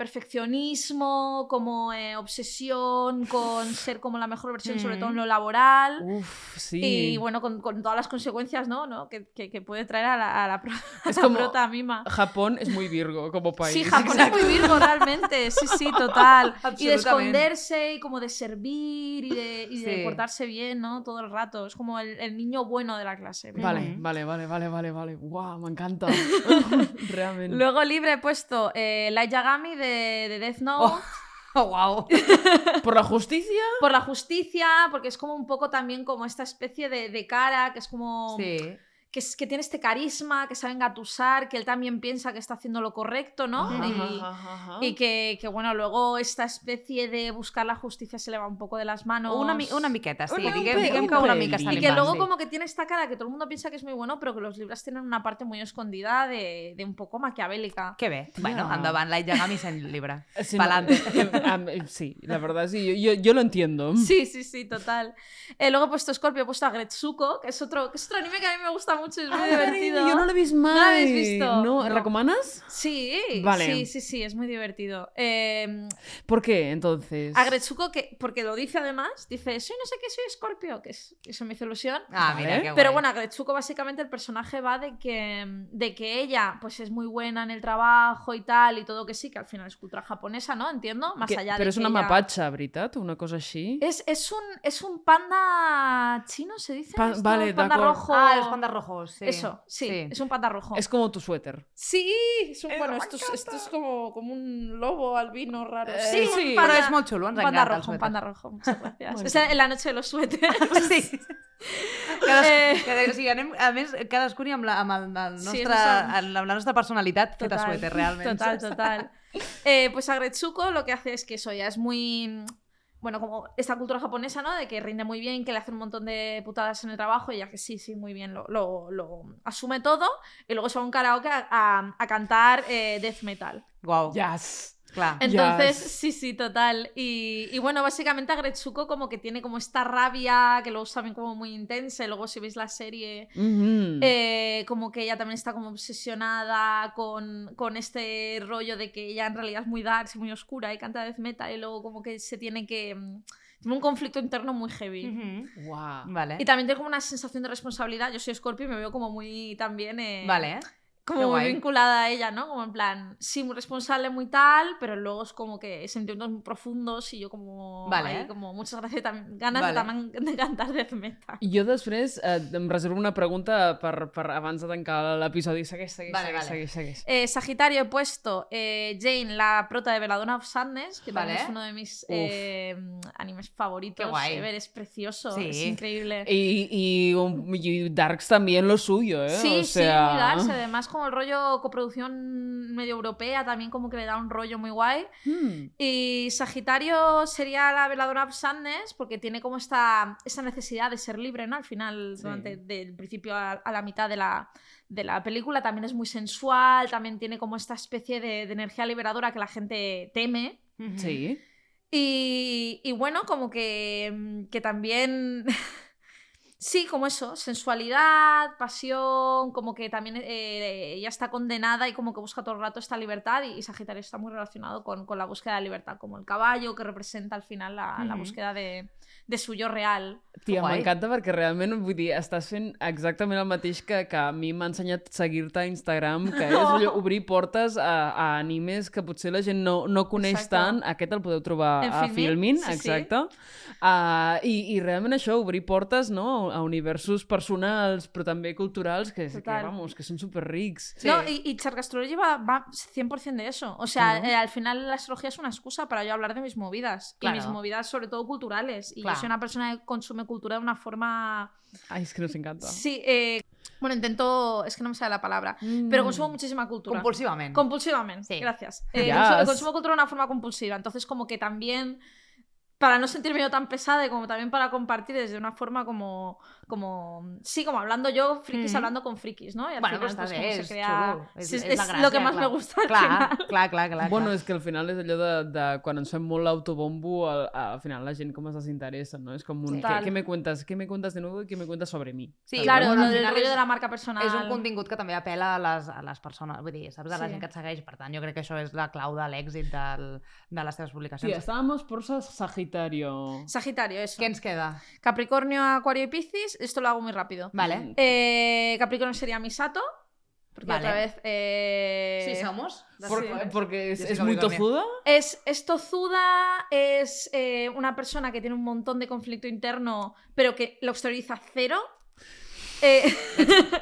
Speaker 1: perfeccionismo, como eh, obsesión con ser como la mejor versión, sobre
Speaker 2: Mm.
Speaker 1: todo en lo laboral.
Speaker 3: Uf, sí.
Speaker 1: Y bueno, con, con todas las consecuencias ¿no? ¿no? Que, que- que puede traer a la, a la, pro- [laughs] a
Speaker 3: Es
Speaker 1: la
Speaker 3: como-
Speaker 1: prota misma.
Speaker 3: Japón es muy Virgo como
Speaker 2: [laughs]
Speaker 3: país.
Speaker 1: Sí, Japón es muy virgo realmente, sí, sí, total. Y de
Speaker 2: Absolutamente.
Speaker 1: esconderse y como de servir y de, y de
Speaker 2: Sí.
Speaker 1: portarse bien, ¿no? Todo el rato. Es como el, el niño bueno de la clase.
Speaker 3: Vale,
Speaker 2: Mhm.
Speaker 3: vale, vale, vale, vale, vale.
Speaker 1: [laughs]
Speaker 3: Uau, m'encanta. Realment.
Speaker 1: Luego libre he puesto eh, Light Yagami de, de Death Note.
Speaker 2: Oh. Oh, wow.
Speaker 3: Por la justícia?
Speaker 2: Oh. [laughs]
Speaker 1: por la justicia, porque es como un poco también como esta especie de, de cara, que es como...
Speaker 2: Sí.
Speaker 1: Que, es- que tiene este carisma, que sabe engatusar, que él también piensa que está haciendo lo correcto, ¿no?
Speaker 2: Ajá,
Speaker 1: y
Speaker 3: ajá, ajá.
Speaker 1: y que, que, bueno, luego esta especie de buscar la justicia se le va un poco de las manos.
Speaker 2: Una, mi una miqueta, sí.
Speaker 3: Una- un
Speaker 2: diguem,
Speaker 3: pe-
Speaker 2: diguem
Speaker 3: un
Speaker 2: que una mica
Speaker 3: pelín.
Speaker 2: se
Speaker 1: y
Speaker 2: li
Speaker 1: que
Speaker 2: va,
Speaker 1: luego
Speaker 2: sí.
Speaker 1: como que tiene esta cara que todo el mundo piensa que es muy bueno, pero que los libros tienen una parte muy escondida de, de un poco maquiavélica.
Speaker 2: Que bé. Bueno, endavant, Light Yagami sent
Speaker 1: [laughs]
Speaker 2: llibre.
Speaker 3: Sí, [laughs]
Speaker 2: Pa'lante.
Speaker 3: em, am- am- sí, la verdad, sí, yo, yo, yo lo entiendo.
Speaker 1: Sí, sí, sí, total. Eh, luego he puesto Scorpio, he puesto a Gretsuko, que es otro, que es otro anime que a mí me gusta mucho, es muy divertido.
Speaker 3: Ah, yo no lo he visto más.
Speaker 1: No l'he vist.
Speaker 3: No,
Speaker 1: No.
Speaker 3: ¿Recomanas?
Speaker 1: Sí,
Speaker 3: Vale.
Speaker 1: sí, sí, sí, es muy divertido. Eh,
Speaker 3: ¿Por qué, entonces?
Speaker 1: a Gretsuko, que, porque lo dice además, dice, soy no sé qué, soy Scorpio, que es, eso me hizo ilusión.
Speaker 2: Ah, mira,
Speaker 3: Vale.
Speaker 2: que guai.
Speaker 1: Pero bueno, a Gretsuko básicamente el personaje va de que, de que ella pues es muy buena en el trabajo y tal, y todo que sí, que al final es cultura japonesa, ¿no? Entiendo, más
Speaker 3: Que-
Speaker 1: allá de
Speaker 3: Pero es
Speaker 1: que
Speaker 3: una
Speaker 1: ella-
Speaker 3: mapacha, Britat, una cosa así.
Speaker 1: Es, es, un, es un panda chino, ¿se dice?
Speaker 3: Pa-
Speaker 1: esto?
Speaker 3: vale, de
Speaker 1: panda
Speaker 3: acuerdo.
Speaker 1: rojo.
Speaker 2: Ah, els pandas rojos, sí.
Speaker 1: Eso, sí, es un panda rojo.
Speaker 3: Es como tu suéter.
Speaker 1: Sí, es un-
Speaker 4: Eh,
Speaker 1: bueno,
Speaker 4: me
Speaker 1: esto es,
Speaker 4: encanta.
Speaker 1: esto es como, como un lobo albino raro.
Speaker 3: Eh,
Speaker 1: sí,
Speaker 3: sí,
Speaker 1: un
Speaker 2: Però
Speaker 1: panda,
Speaker 2: és molt xulo,
Speaker 1: un
Speaker 2: ens
Speaker 1: panda
Speaker 2: encanta el
Speaker 1: rojo, un
Speaker 2: suéter. [laughs]
Speaker 1: panda rojo.
Speaker 3: [laughs]
Speaker 1: Muchas gracias.
Speaker 3: Muy
Speaker 1: es en la noche de los
Speaker 3: [laughs]
Speaker 1: suéteres.
Speaker 2: Sí. Cadascú,
Speaker 1: Eh.
Speaker 2: cada, o sigui, anem, a més, cadascú anem amb la, amb el, el
Speaker 1: Sí,
Speaker 2: nostre,
Speaker 1: som-
Speaker 2: amb la nostra personalitat feta
Speaker 1: Total,
Speaker 2: suéter, realment.
Speaker 1: Total, total. Eh, pues a Gretsuko lo que hace es que eso ya es muy. Bueno, como esta cultura japonesa, ¿no? De que rinde muy bien, que le hace un montón de putadas en el trabajo y ya que sí, sí, muy bien, lo, lo- lo asume todo y luego se va a un karaoke a, a- a cantar eh, death metal.
Speaker 2: Guau,
Speaker 3: Yes.
Speaker 2: clar.
Speaker 1: Eh, Entonces,
Speaker 3: Yes.
Speaker 1: sí, sí, total. Y, y bueno, básicamente a Gretsuko como que tiene como esta rabia, que luego saben como muy intensa, y luego si veis la serie,
Speaker 2: Mm.
Speaker 3: Mhm.
Speaker 1: eh, como que ella también está como obsesionada con, con este rollo de que ella en realidad es muy dark, y muy oscura y canta death metal y luego como que se tiene que... mm, Tiene un conflicto interno muy heavy.
Speaker 2: Mhm.
Speaker 3: Guau.
Speaker 2: Vale.
Speaker 1: Y también tiene como una sensación de responsabilidad. Yo soy Scorpio y me veo como muy también... eh,
Speaker 2: Vale. Qué
Speaker 1: como muy
Speaker 2: guay.
Speaker 1: vinculada a ella, ¿no? Como en plan, sí, muy responsable, muy tal, pero luego es como que sentimientos muy profundos y yo como...
Speaker 2: Vale.
Speaker 1: ahí como muchas gracias, tam- ganas de,
Speaker 2: Vale.
Speaker 1: tam- de cantar death metal.
Speaker 3: I Jo després eh, em reservo una pregunta per, per abans de tancar l'episodi. Segueix, segueix,
Speaker 2: Vale,
Speaker 3: segueix,
Speaker 2: vale.
Speaker 3: segueix, segueix.
Speaker 1: Eh, Sagitario he puesto eh, Jane, la prota de Belladonna of Sadness, que también
Speaker 2: Vale.
Speaker 1: es uno de mis
Speaker 3: Uf.
Speaker 1: eh, animes favoritos.
Speaker 2: Qué guay.
Speaker 1: Ever es precioso,
Speaker 2: Sí. Eh,
Speaker 1: es increíble.
Speaker 3: Y, y, un- y Darks también lo suyo, ¿eh?
Speaker 1: Sí, eh.
Speaker 3: o
Speaker 1: sí, muy
Speaker 3: sea...
Speaker 1: darse. Además, como el rollo coproducción medio europea, también como que le da un rollo muy guay.
Speaker 3: Hmm.
Speaker 1: Y Sagitario sería la veladora of Sadness, porque tiene como esta, esa necesidad de ser libre, ¿no? Al final,
Speaker 3: Sí.
Speaker 1: durante del principio a, a la mitad de la, de la película, también es muy sensual, también tiene como esta especie de, de energía liberadora que la gente teme.
Speaker 2: Mhm.
Speaker 3: Sí.
Speaker 1: Y, y bueno, como que, mm, que también. [laughs] Sí, como eso, sensualidad, pasión, como que también eh, ella está condenada y como que busca todo el rato esta libertad y, y Sagitario está muy relacionado con, con la búsqueda de la libertad, como el caballo que representa al final la, la
Speaker 2: Ujú.
Speaker 1: búsqueda de, de su yo real.
Speaker 3: Tia,
Speaker 2: Guai.
Speaker 3: m'encanta perquè realment, vull dir, estàs fent exactament el mateix que, que a mi m'ha ensenyat seguir-te a Instagram, que és
Speaker 1: Oh.
Speaker 3: allò, obrir portes a, a animes que potser la gent no, no coneix
Speaker 1: Exacte.
Speaker 3: exacte. tant. Aquest el podeu trobar
Speaker 1: En
Speaker 3: a
Speaker 1: Filmin,
Speaker 3: Filmin, Ah,
Speaker 1: sí, sí.
Speaker 3: exacte. Uh, i, I realment això, obrir portes no? a universos personals, però també culturals, que, que,
Speaker 1: Total.
Speaker 3: vamos, que són superrics.
Speaker 2: Sí.
Speaker 1: No, y, y Chargastrology va, va 100% de eso. O sea, eh, al final la astrología es una excusa para yo hablar de mis movidas.
Speaker 2: Claro.
Speaker 1: Y mis movidas, sobre todo culturales. Y
Speaker 2: Claro.
Speaker 1: yo soy una persona que consume cultura de una forma.
Speaker 3: Ai, és que nos encanta.
Speaker 1: Sí, eh, bueno, intento. Es que no me sale la palabra. Pero consumo muchísima cultura.
Speaker 2: Compulsivamente.
Speaker 1: Compulsivamente,
Speaker 2: Mm. Sí.
Speaker 1: gracias. Eh,
Speaker 3: Yes.
Speaker 1: consumo, consumo cultura de una forma compulsiva, entonces como que también, para no sentirme yo tan pesada y como también para compartir desde una forma como, como sí, como hablando yo, frikis
Speaker 2: Mm.
Speaker 1: hablando con frikis, ¿no? Y al
Speaker 2: Bueno,
Speaker 1: final,
Speaker 2: pues está
Speaker 1: pues,
Speaker 2: bé,
Speaker 1: como se
Speaker 2: és
Speaker 1: crea-
Speaker 2: xulo, és-
Speaker 1: Sí,
Speaker 2: és la
Speaker 1: lo que
Speaker 2: gràcia,
Speaker 1: más me
Speaker 2: clar.
Speaker 1: gusta al
Speaker 2: Clar,
Speaker 1: final.
Speaker 2: clar, clar, clar.
Speaker 3: Bueno,
Speaker 2: clar.
Speaker 3: és que al final és allò de, de quan ens fem molt l'autobombo, al, al final la gent com es desinteressa, no? És com un...
Speaker 2: Sí.
Speaker 3: Sí. ¿Qué,
Speaker 1: Total.
Speaker 3: ¿Qué me cuentas? ¿Qué me cuentas de nuevo? ¿Qué me cuentas sobre mí?
Speaker 2: Sí,
Speaker 3: Saps?
Speaker 1: Claro, lo
Speaker 2: Bueno, al
Speaker 1: del
Speaker 2: final
Speaker 1: rollo
Speaker 2: és-
Speaker 1: de la marca personal.
Speaker 2: És un contingut que també apela a les, a les persones, vull dir, saps, a la
Speaker 1: Sí.
Speaker 2: gent que et segueix, per tant, jo crec que això és la clau de l'èxit del, de les teves
Speaker 3: Sí,
Speaker 2: publicacions.
Speaker 3: estábamos por sa- Sagitario.
Speaker 1: Sagitario, eso.
Speaker 2: Què ens queda?
Speaker 1: Capricornio, Acuario y Piscis, esto lo hago muy rápido.
Speaker 2: Vale.
Speaker 1: Eh, Capricornio sería Misato, porque
Speaker 2: Vale.
Speaker 1: otra vez... eh,
Speaker 2: somos.
Speaker 3: Por-
Speaker 1: Sí.
Speaker 3: porque es,
Speaker 2: Yo soy
Speaker 3: es muy
Speaker 2: Capricornio.
Speaker 3: tozuda.
Speaker 1: Es, es tozuda, es eh, una persona que tiene un montón de conflicto interno, pero que lo exterioriza cero. Eh, [laughs]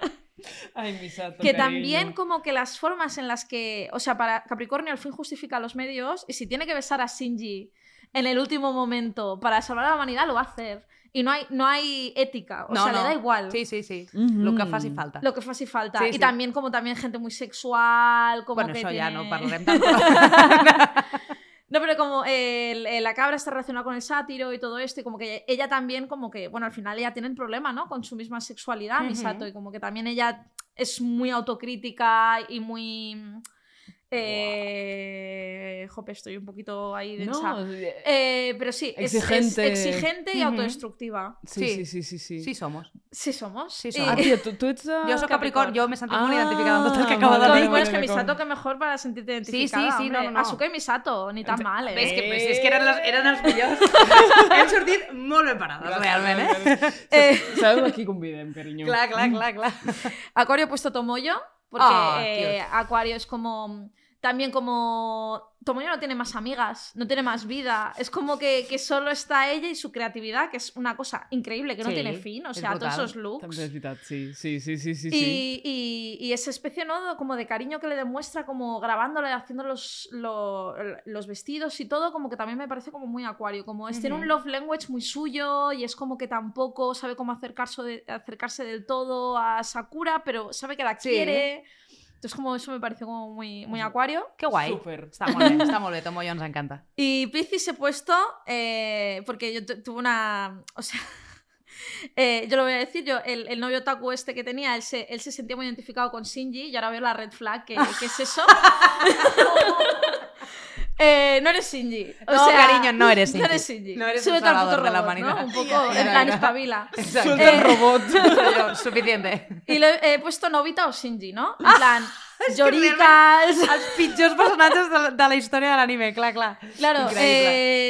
Speaker 3: Ay, Misato,
Speaker 1: que también como que las formas en las que, o sea, para Capricornio al fin justifica los medios y si tiene que besar a Shinji en el último momento para salvar a la humanidad lo va a hacer y no hay, no hay ética, o
Speaker 2: No,
Speaker 1: sea,
Speaker 2: no.
Speaker 1: le da igual.
Speaker 2: Sí, sí, sí.
Speaker 3: Mhm.
Speaker 2: El que faci falta.
Speaker 1: Lo que faci falta.
Speaker 2: Sí,
Speaker 1: y
Speaker 2: sí.
Speaker 1: también como también gente muy sexual, como
Speaker 2: Bueno,
Speaker 1: que
Speaker 2: això
Speaker 1: tiene...
Speaker 2: ja no
Speaker 1: [laughs]
Speaker 2: parlarem tant.
Speaker 1: No, pero como eh, el- eh, la cabra está relacionada con el sátiro y todo esto, y como que ella también, como que, bueno, al final ella tiene el problema, ¿no? Con su misma sexualidad,
Speaker 2: Ujú.
Speaker 1: Misato, y como que también ella es muy autocrítica y muy... Eh, Jope, estoy un poquito ahí densa.
Speaker 3: No, eh,
Speaker 1: Eh, pero sí, es-
Speaker 3: Exigente.
Speaker 1: Es, exigente y
Speaker 2: Ujú.
Speaker 1: autodestructiva.
Speaker 3: sí, sí, sí, sí, sí.
Speaker 2: Sí, somos.
Speaker 1: Sí somos.
Speaker 2: Sí
Speaker 1: Y-
Speaker 2: somos.
Speaker 1: [laughs]
Speaker 3: Ah, tio, tu, tu ets... eh,
Speaker 2: Jo sóc Capricorn,
Speaker 1: Capricorn.
Speaker 2: jo m'he sentit molt
Speaker 3: Ah,
Speaker 2: identificada amb tot el que acaba de
Speaker 1: Con-
Speaker 3: vale,
Speaker 2: dir.
Speaker 1: bueno, es que
Speaker 3: vale,
Speaker 1: Misato,
Speaker 3: con-
Speaker 1: que mejor para sentirte
Speaker 2: sí,
Speaker 1: identificada.
Speaker 2: sí,
Speaker 1: hombre.
Speaker 2: no, no, no.
Speaker 1: Asuka y Misato, ni tan mal, ¿eh?
Speaker 2: Ves que,
Speaker 3: Eh.
Speaker 2: pues, és que eren, les, eren els
Speaker 1: [laughs]
Speaker 2: millors. Hem sortit molt ben parades, realment, eh?
Speaker 1: Eh,
Speaker 3: Sabeu a qui convidem, carinyo?
Speaker 2: Clar, clar, clar, clar.
Speaker 1: Acuario he puesto Tomoyo, porque
Speaker 2: Ah,
Speaker 1: eh, Acuario es como... También como... Tomoyo no tiene más amigas, no tiene más vida. Es como que, que solo está ella y su creatividad, que es una cosa increíble, que no
Speaker 2: Sí,
Speaker 1: tiene fin. O
Speaker 2: es
Speaker 1: sea, todos
Speaker 2: brutal.
Speaker 1: esos looks.
Speaker 3: També és veritat, sí, sí, sí, sí, sí. sí.
Speaker 1: Y, y- y esa especie ¿no? como de cariño que le demuestra como grabándole, haciendo los, lo- los vestidos y todo, como que también me parece como muy acuario, como es tiene
Speaker 2: Ujú.
Speaker 1: un love language muy suyo y es como que tampoco sabe cómo acercarse, de- acercarse del todo a Sakura, pero sabe que la
Speaker 2: Sí.
Speaker 1: quiere. Entonces como eso me pareció como muy, muy acuario.
Speaker 2: Que guai.
Speaker 3: Super.
Speaker 2: Està molt bé, està molt bé. Tomo jo ens encanta.
Speaker 1: Y Piscis he puesto eh, porque yo tu- tuve una. O sea. [laughs] eh, yo lo voy a decir, yo, el, el novio Taku este que tenía, él se, él se sentía muy identificado con Shinji y ahora veo la red flag, que, que es
Speaker 2: [laughs]
Speaker 1: eso. Eh, no eres Shinji. O
Speaker 2: No,
Speaker 1: sea,
Speaker 2: cariño, no eres
Speaker 1: No eres
Speaker 2: Shinji.
Speaker 1: Shinji.
Speaker 2: No eres un
Speaker 1: Súbete al puto
Speaker 2: salvador de la
Speaker 1: robot, ¿no?
Speaker 2: humanidad.
Speaker 1: Un poco,
Speaker 2: Ya,
Speaker 1: en plan,
Speaker 2: ya. [laughs]
Speaker 1: espabila.
Speaker 2: Exacte.
Speaker 3: Solta el
Speaker 1: Eh,
Speaker 3: robot.
Speaker 2: [laughs] Allò, Suficiente.
Speaker 1: Y le he puesto Novita o Shinji, ¿no?
Speaker 2: Ah,
Speaker 1: En
Speaker 2: [laughs]
Speaker 1: plan, lloricas.
Speaker 2: els pitjors personatges de, la- de la història de l'anime, clar, clar.
Speaker 1: Claro,
Speaker 2: Increïble.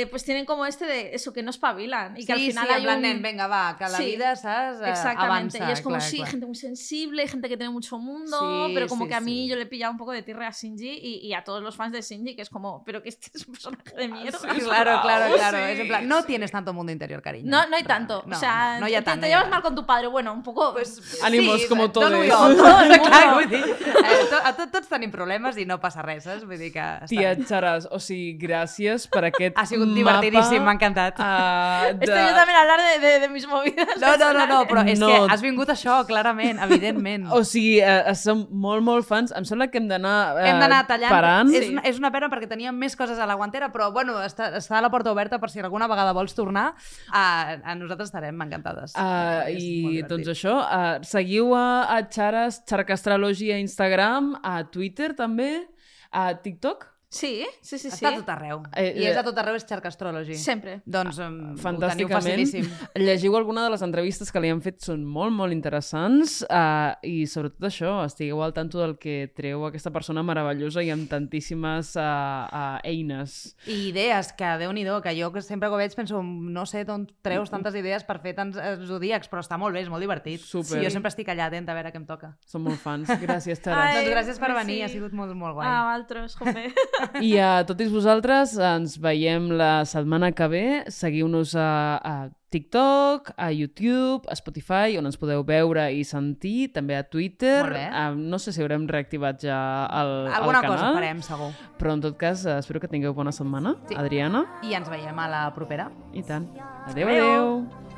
Speaker 1: eh, pues tienen como este de eso, que no espabilan. Y
Speaker 2: sí,
Speaker 1: que al final
Speaker 2: sí,
Speaker 1: hay
Speaker 2: en plan,
Speaker 1: un...
Speaker 2: nen, venga, va, que la
Speaker 1: Sí.
Speaker 2: vida, saps, eh,
Speaker 1: Exactamente.
Speaker 2: avança.
Speaker 1: y es como,
Speaker 2: clar,
Speaker 1: sí,
Speaker 2: clar.
Speaker 1: gente muy sensible, gente que tiene mucho mundo,
Speaker 2: Sí,
Speaker 1: pero como
Speaker 2: sí,
Speaker 1: que a mí
Speaker 2: sí.
Speaker 1: yo le he pillado un poco de tierra a Shinji y, y a todos los fans de Shinji, que es como, pero que este es un personaje de mierda.
Speaker 2: [laughs] Ah,
Speaker 1: [laughs]
Speaker 2: Claro, claro,
Speaker 3: Wow,
Speaker 2: claro.
Speaker 3: sí,
Speaker 2: es en plan, no
Speaker 3: sí.
Speaker 2: tienes tanto mundo interior, cariño.
Speaker 1: No, no hay tanto.
Speaker 2: No,
Speaker 1: o sea,
Speaker 2: no, no hi ha
Speaker 1: te-
Speaker 2: tant,
Speaker 1: te,
Speaker 2: eh. no hi ha
Speaker 1: llevas
Speaker 2: tant.
Speaker 1: mal con tu padre. Bueno, un poco.
Speaker 2: Pues,
Speaker 3: Ànimos, com
Speaker 2: don
Speaker 3: todos.
Speaker 2: Oriol,
Speaker 1: Com
Speaker 2: tot, [laughs]
Speaker 1: tot el
Speaker 2: clar,
Speaker 1: mundo.
Speaker 2: vull dir, eh, to, a tot, tots tenim problemes i no passa res, saps? Vull dir que... està
Speaker 3: Tia
Speaker 2: bé.
Speaker 3: Xaras, o sigui, gràcies per aquest
Speaker 2: ha sigut divertidíssim, m'ha
Speaker 3: mapa,
Speaker 2: encantat.
Speaker 3: eh, de...
Speaker 1: Estoy este, yo también a hablar de, de- de mis movidas.
Speaker 2: No, no, no, no, però és
Speaker 3: No.
Speaker 2: que has vingut a això, clarament, evidentment.
Speaker 3: [laughs] O sigui, eh, eh, som molt, molt fans. Em sembla que hem d'anar eh,
Speaker 2: Hem d'anar tallant.
Speaker 3: parant.
Speaker 2: És, una, és una pena perquè teníem més coses a la guantera, però bueno, està, està a la porta oberta per si alguna vegada vols tornar. A, a nosaltres estarem encantades.
Speaker 3: Uh,
Speaker 2: És molt
Speaker 3: I
Speaker 2: divertit.
Speaker 3: doncs això, uh, seguiu a, a Xares, Xarcastrology a Instagram, a Twitter també, a TikTok.
Speaker 1: Sí, sí, sí. sí.
Speaker 2: Està a tot arreu.
Speaker 3: Eh,
Speaker 2: I és
Speaker 3: eh,
Speaker 2: a tot arreu, és Xarcastrology.
Speaker 1: Siempre.
Speaker 2: Doncs um, ho
Speaker 3: Fantàsticament.
Speaker 2: teniu facilíssim.
Speaker 3: Llegiu alguna de les entrevistes que li han fet, són molt, molt interessants uh, i sobretot això, estigueu al tanto del que treu aquesta persona meravellosa i amb tantíssimes uh, uh, eines.
Speaker 2: I idees, que déu nhi que jo que sempre que ho veig penso, no sé d'on treus tantes idees per fer tants eh, zodíacs, pero està molt bé, és molt divertit.
Speaker 3: Super.
Speaker 2: Sí, jo sempre estic allà atenta a veure què em toca. [laughs]
Speaker 3: Som molt fans. Gràcies, Xares.
Speaker 1: Ai,
Speaker 2: doncs gràcies per
Speaker 1: merci.
Speaker 2: venir, ha sigut molt, molt guai.
Speaker 1: Ah, Valtros, joder.
Speaker 3: I a tots vosaltres ens veiem la setmana que ve. Seguiu-nos a, a TikTok, a YouTube, a Spotify, on ens podeu veure i sentir, també a Twitter.
Speaker 2: Molt bé.
Speaker 3: A, no sé si haurem reactivat ja el,
Speaker 2: Alguna
Speaker 3: el canal.
Speaker 2: cosa farem, segur.
Speaker 3: Però en tot cas, eh, espero que tingueu bona setmana,
Speaker 2: Sí.
Speaker 3: Adriana.
Speaker 2: I ens veiem a la propera.
Speaker 3: I tant.
Speaker 2: Adéu.
Speaker 3: Adéu, adéu. adéu.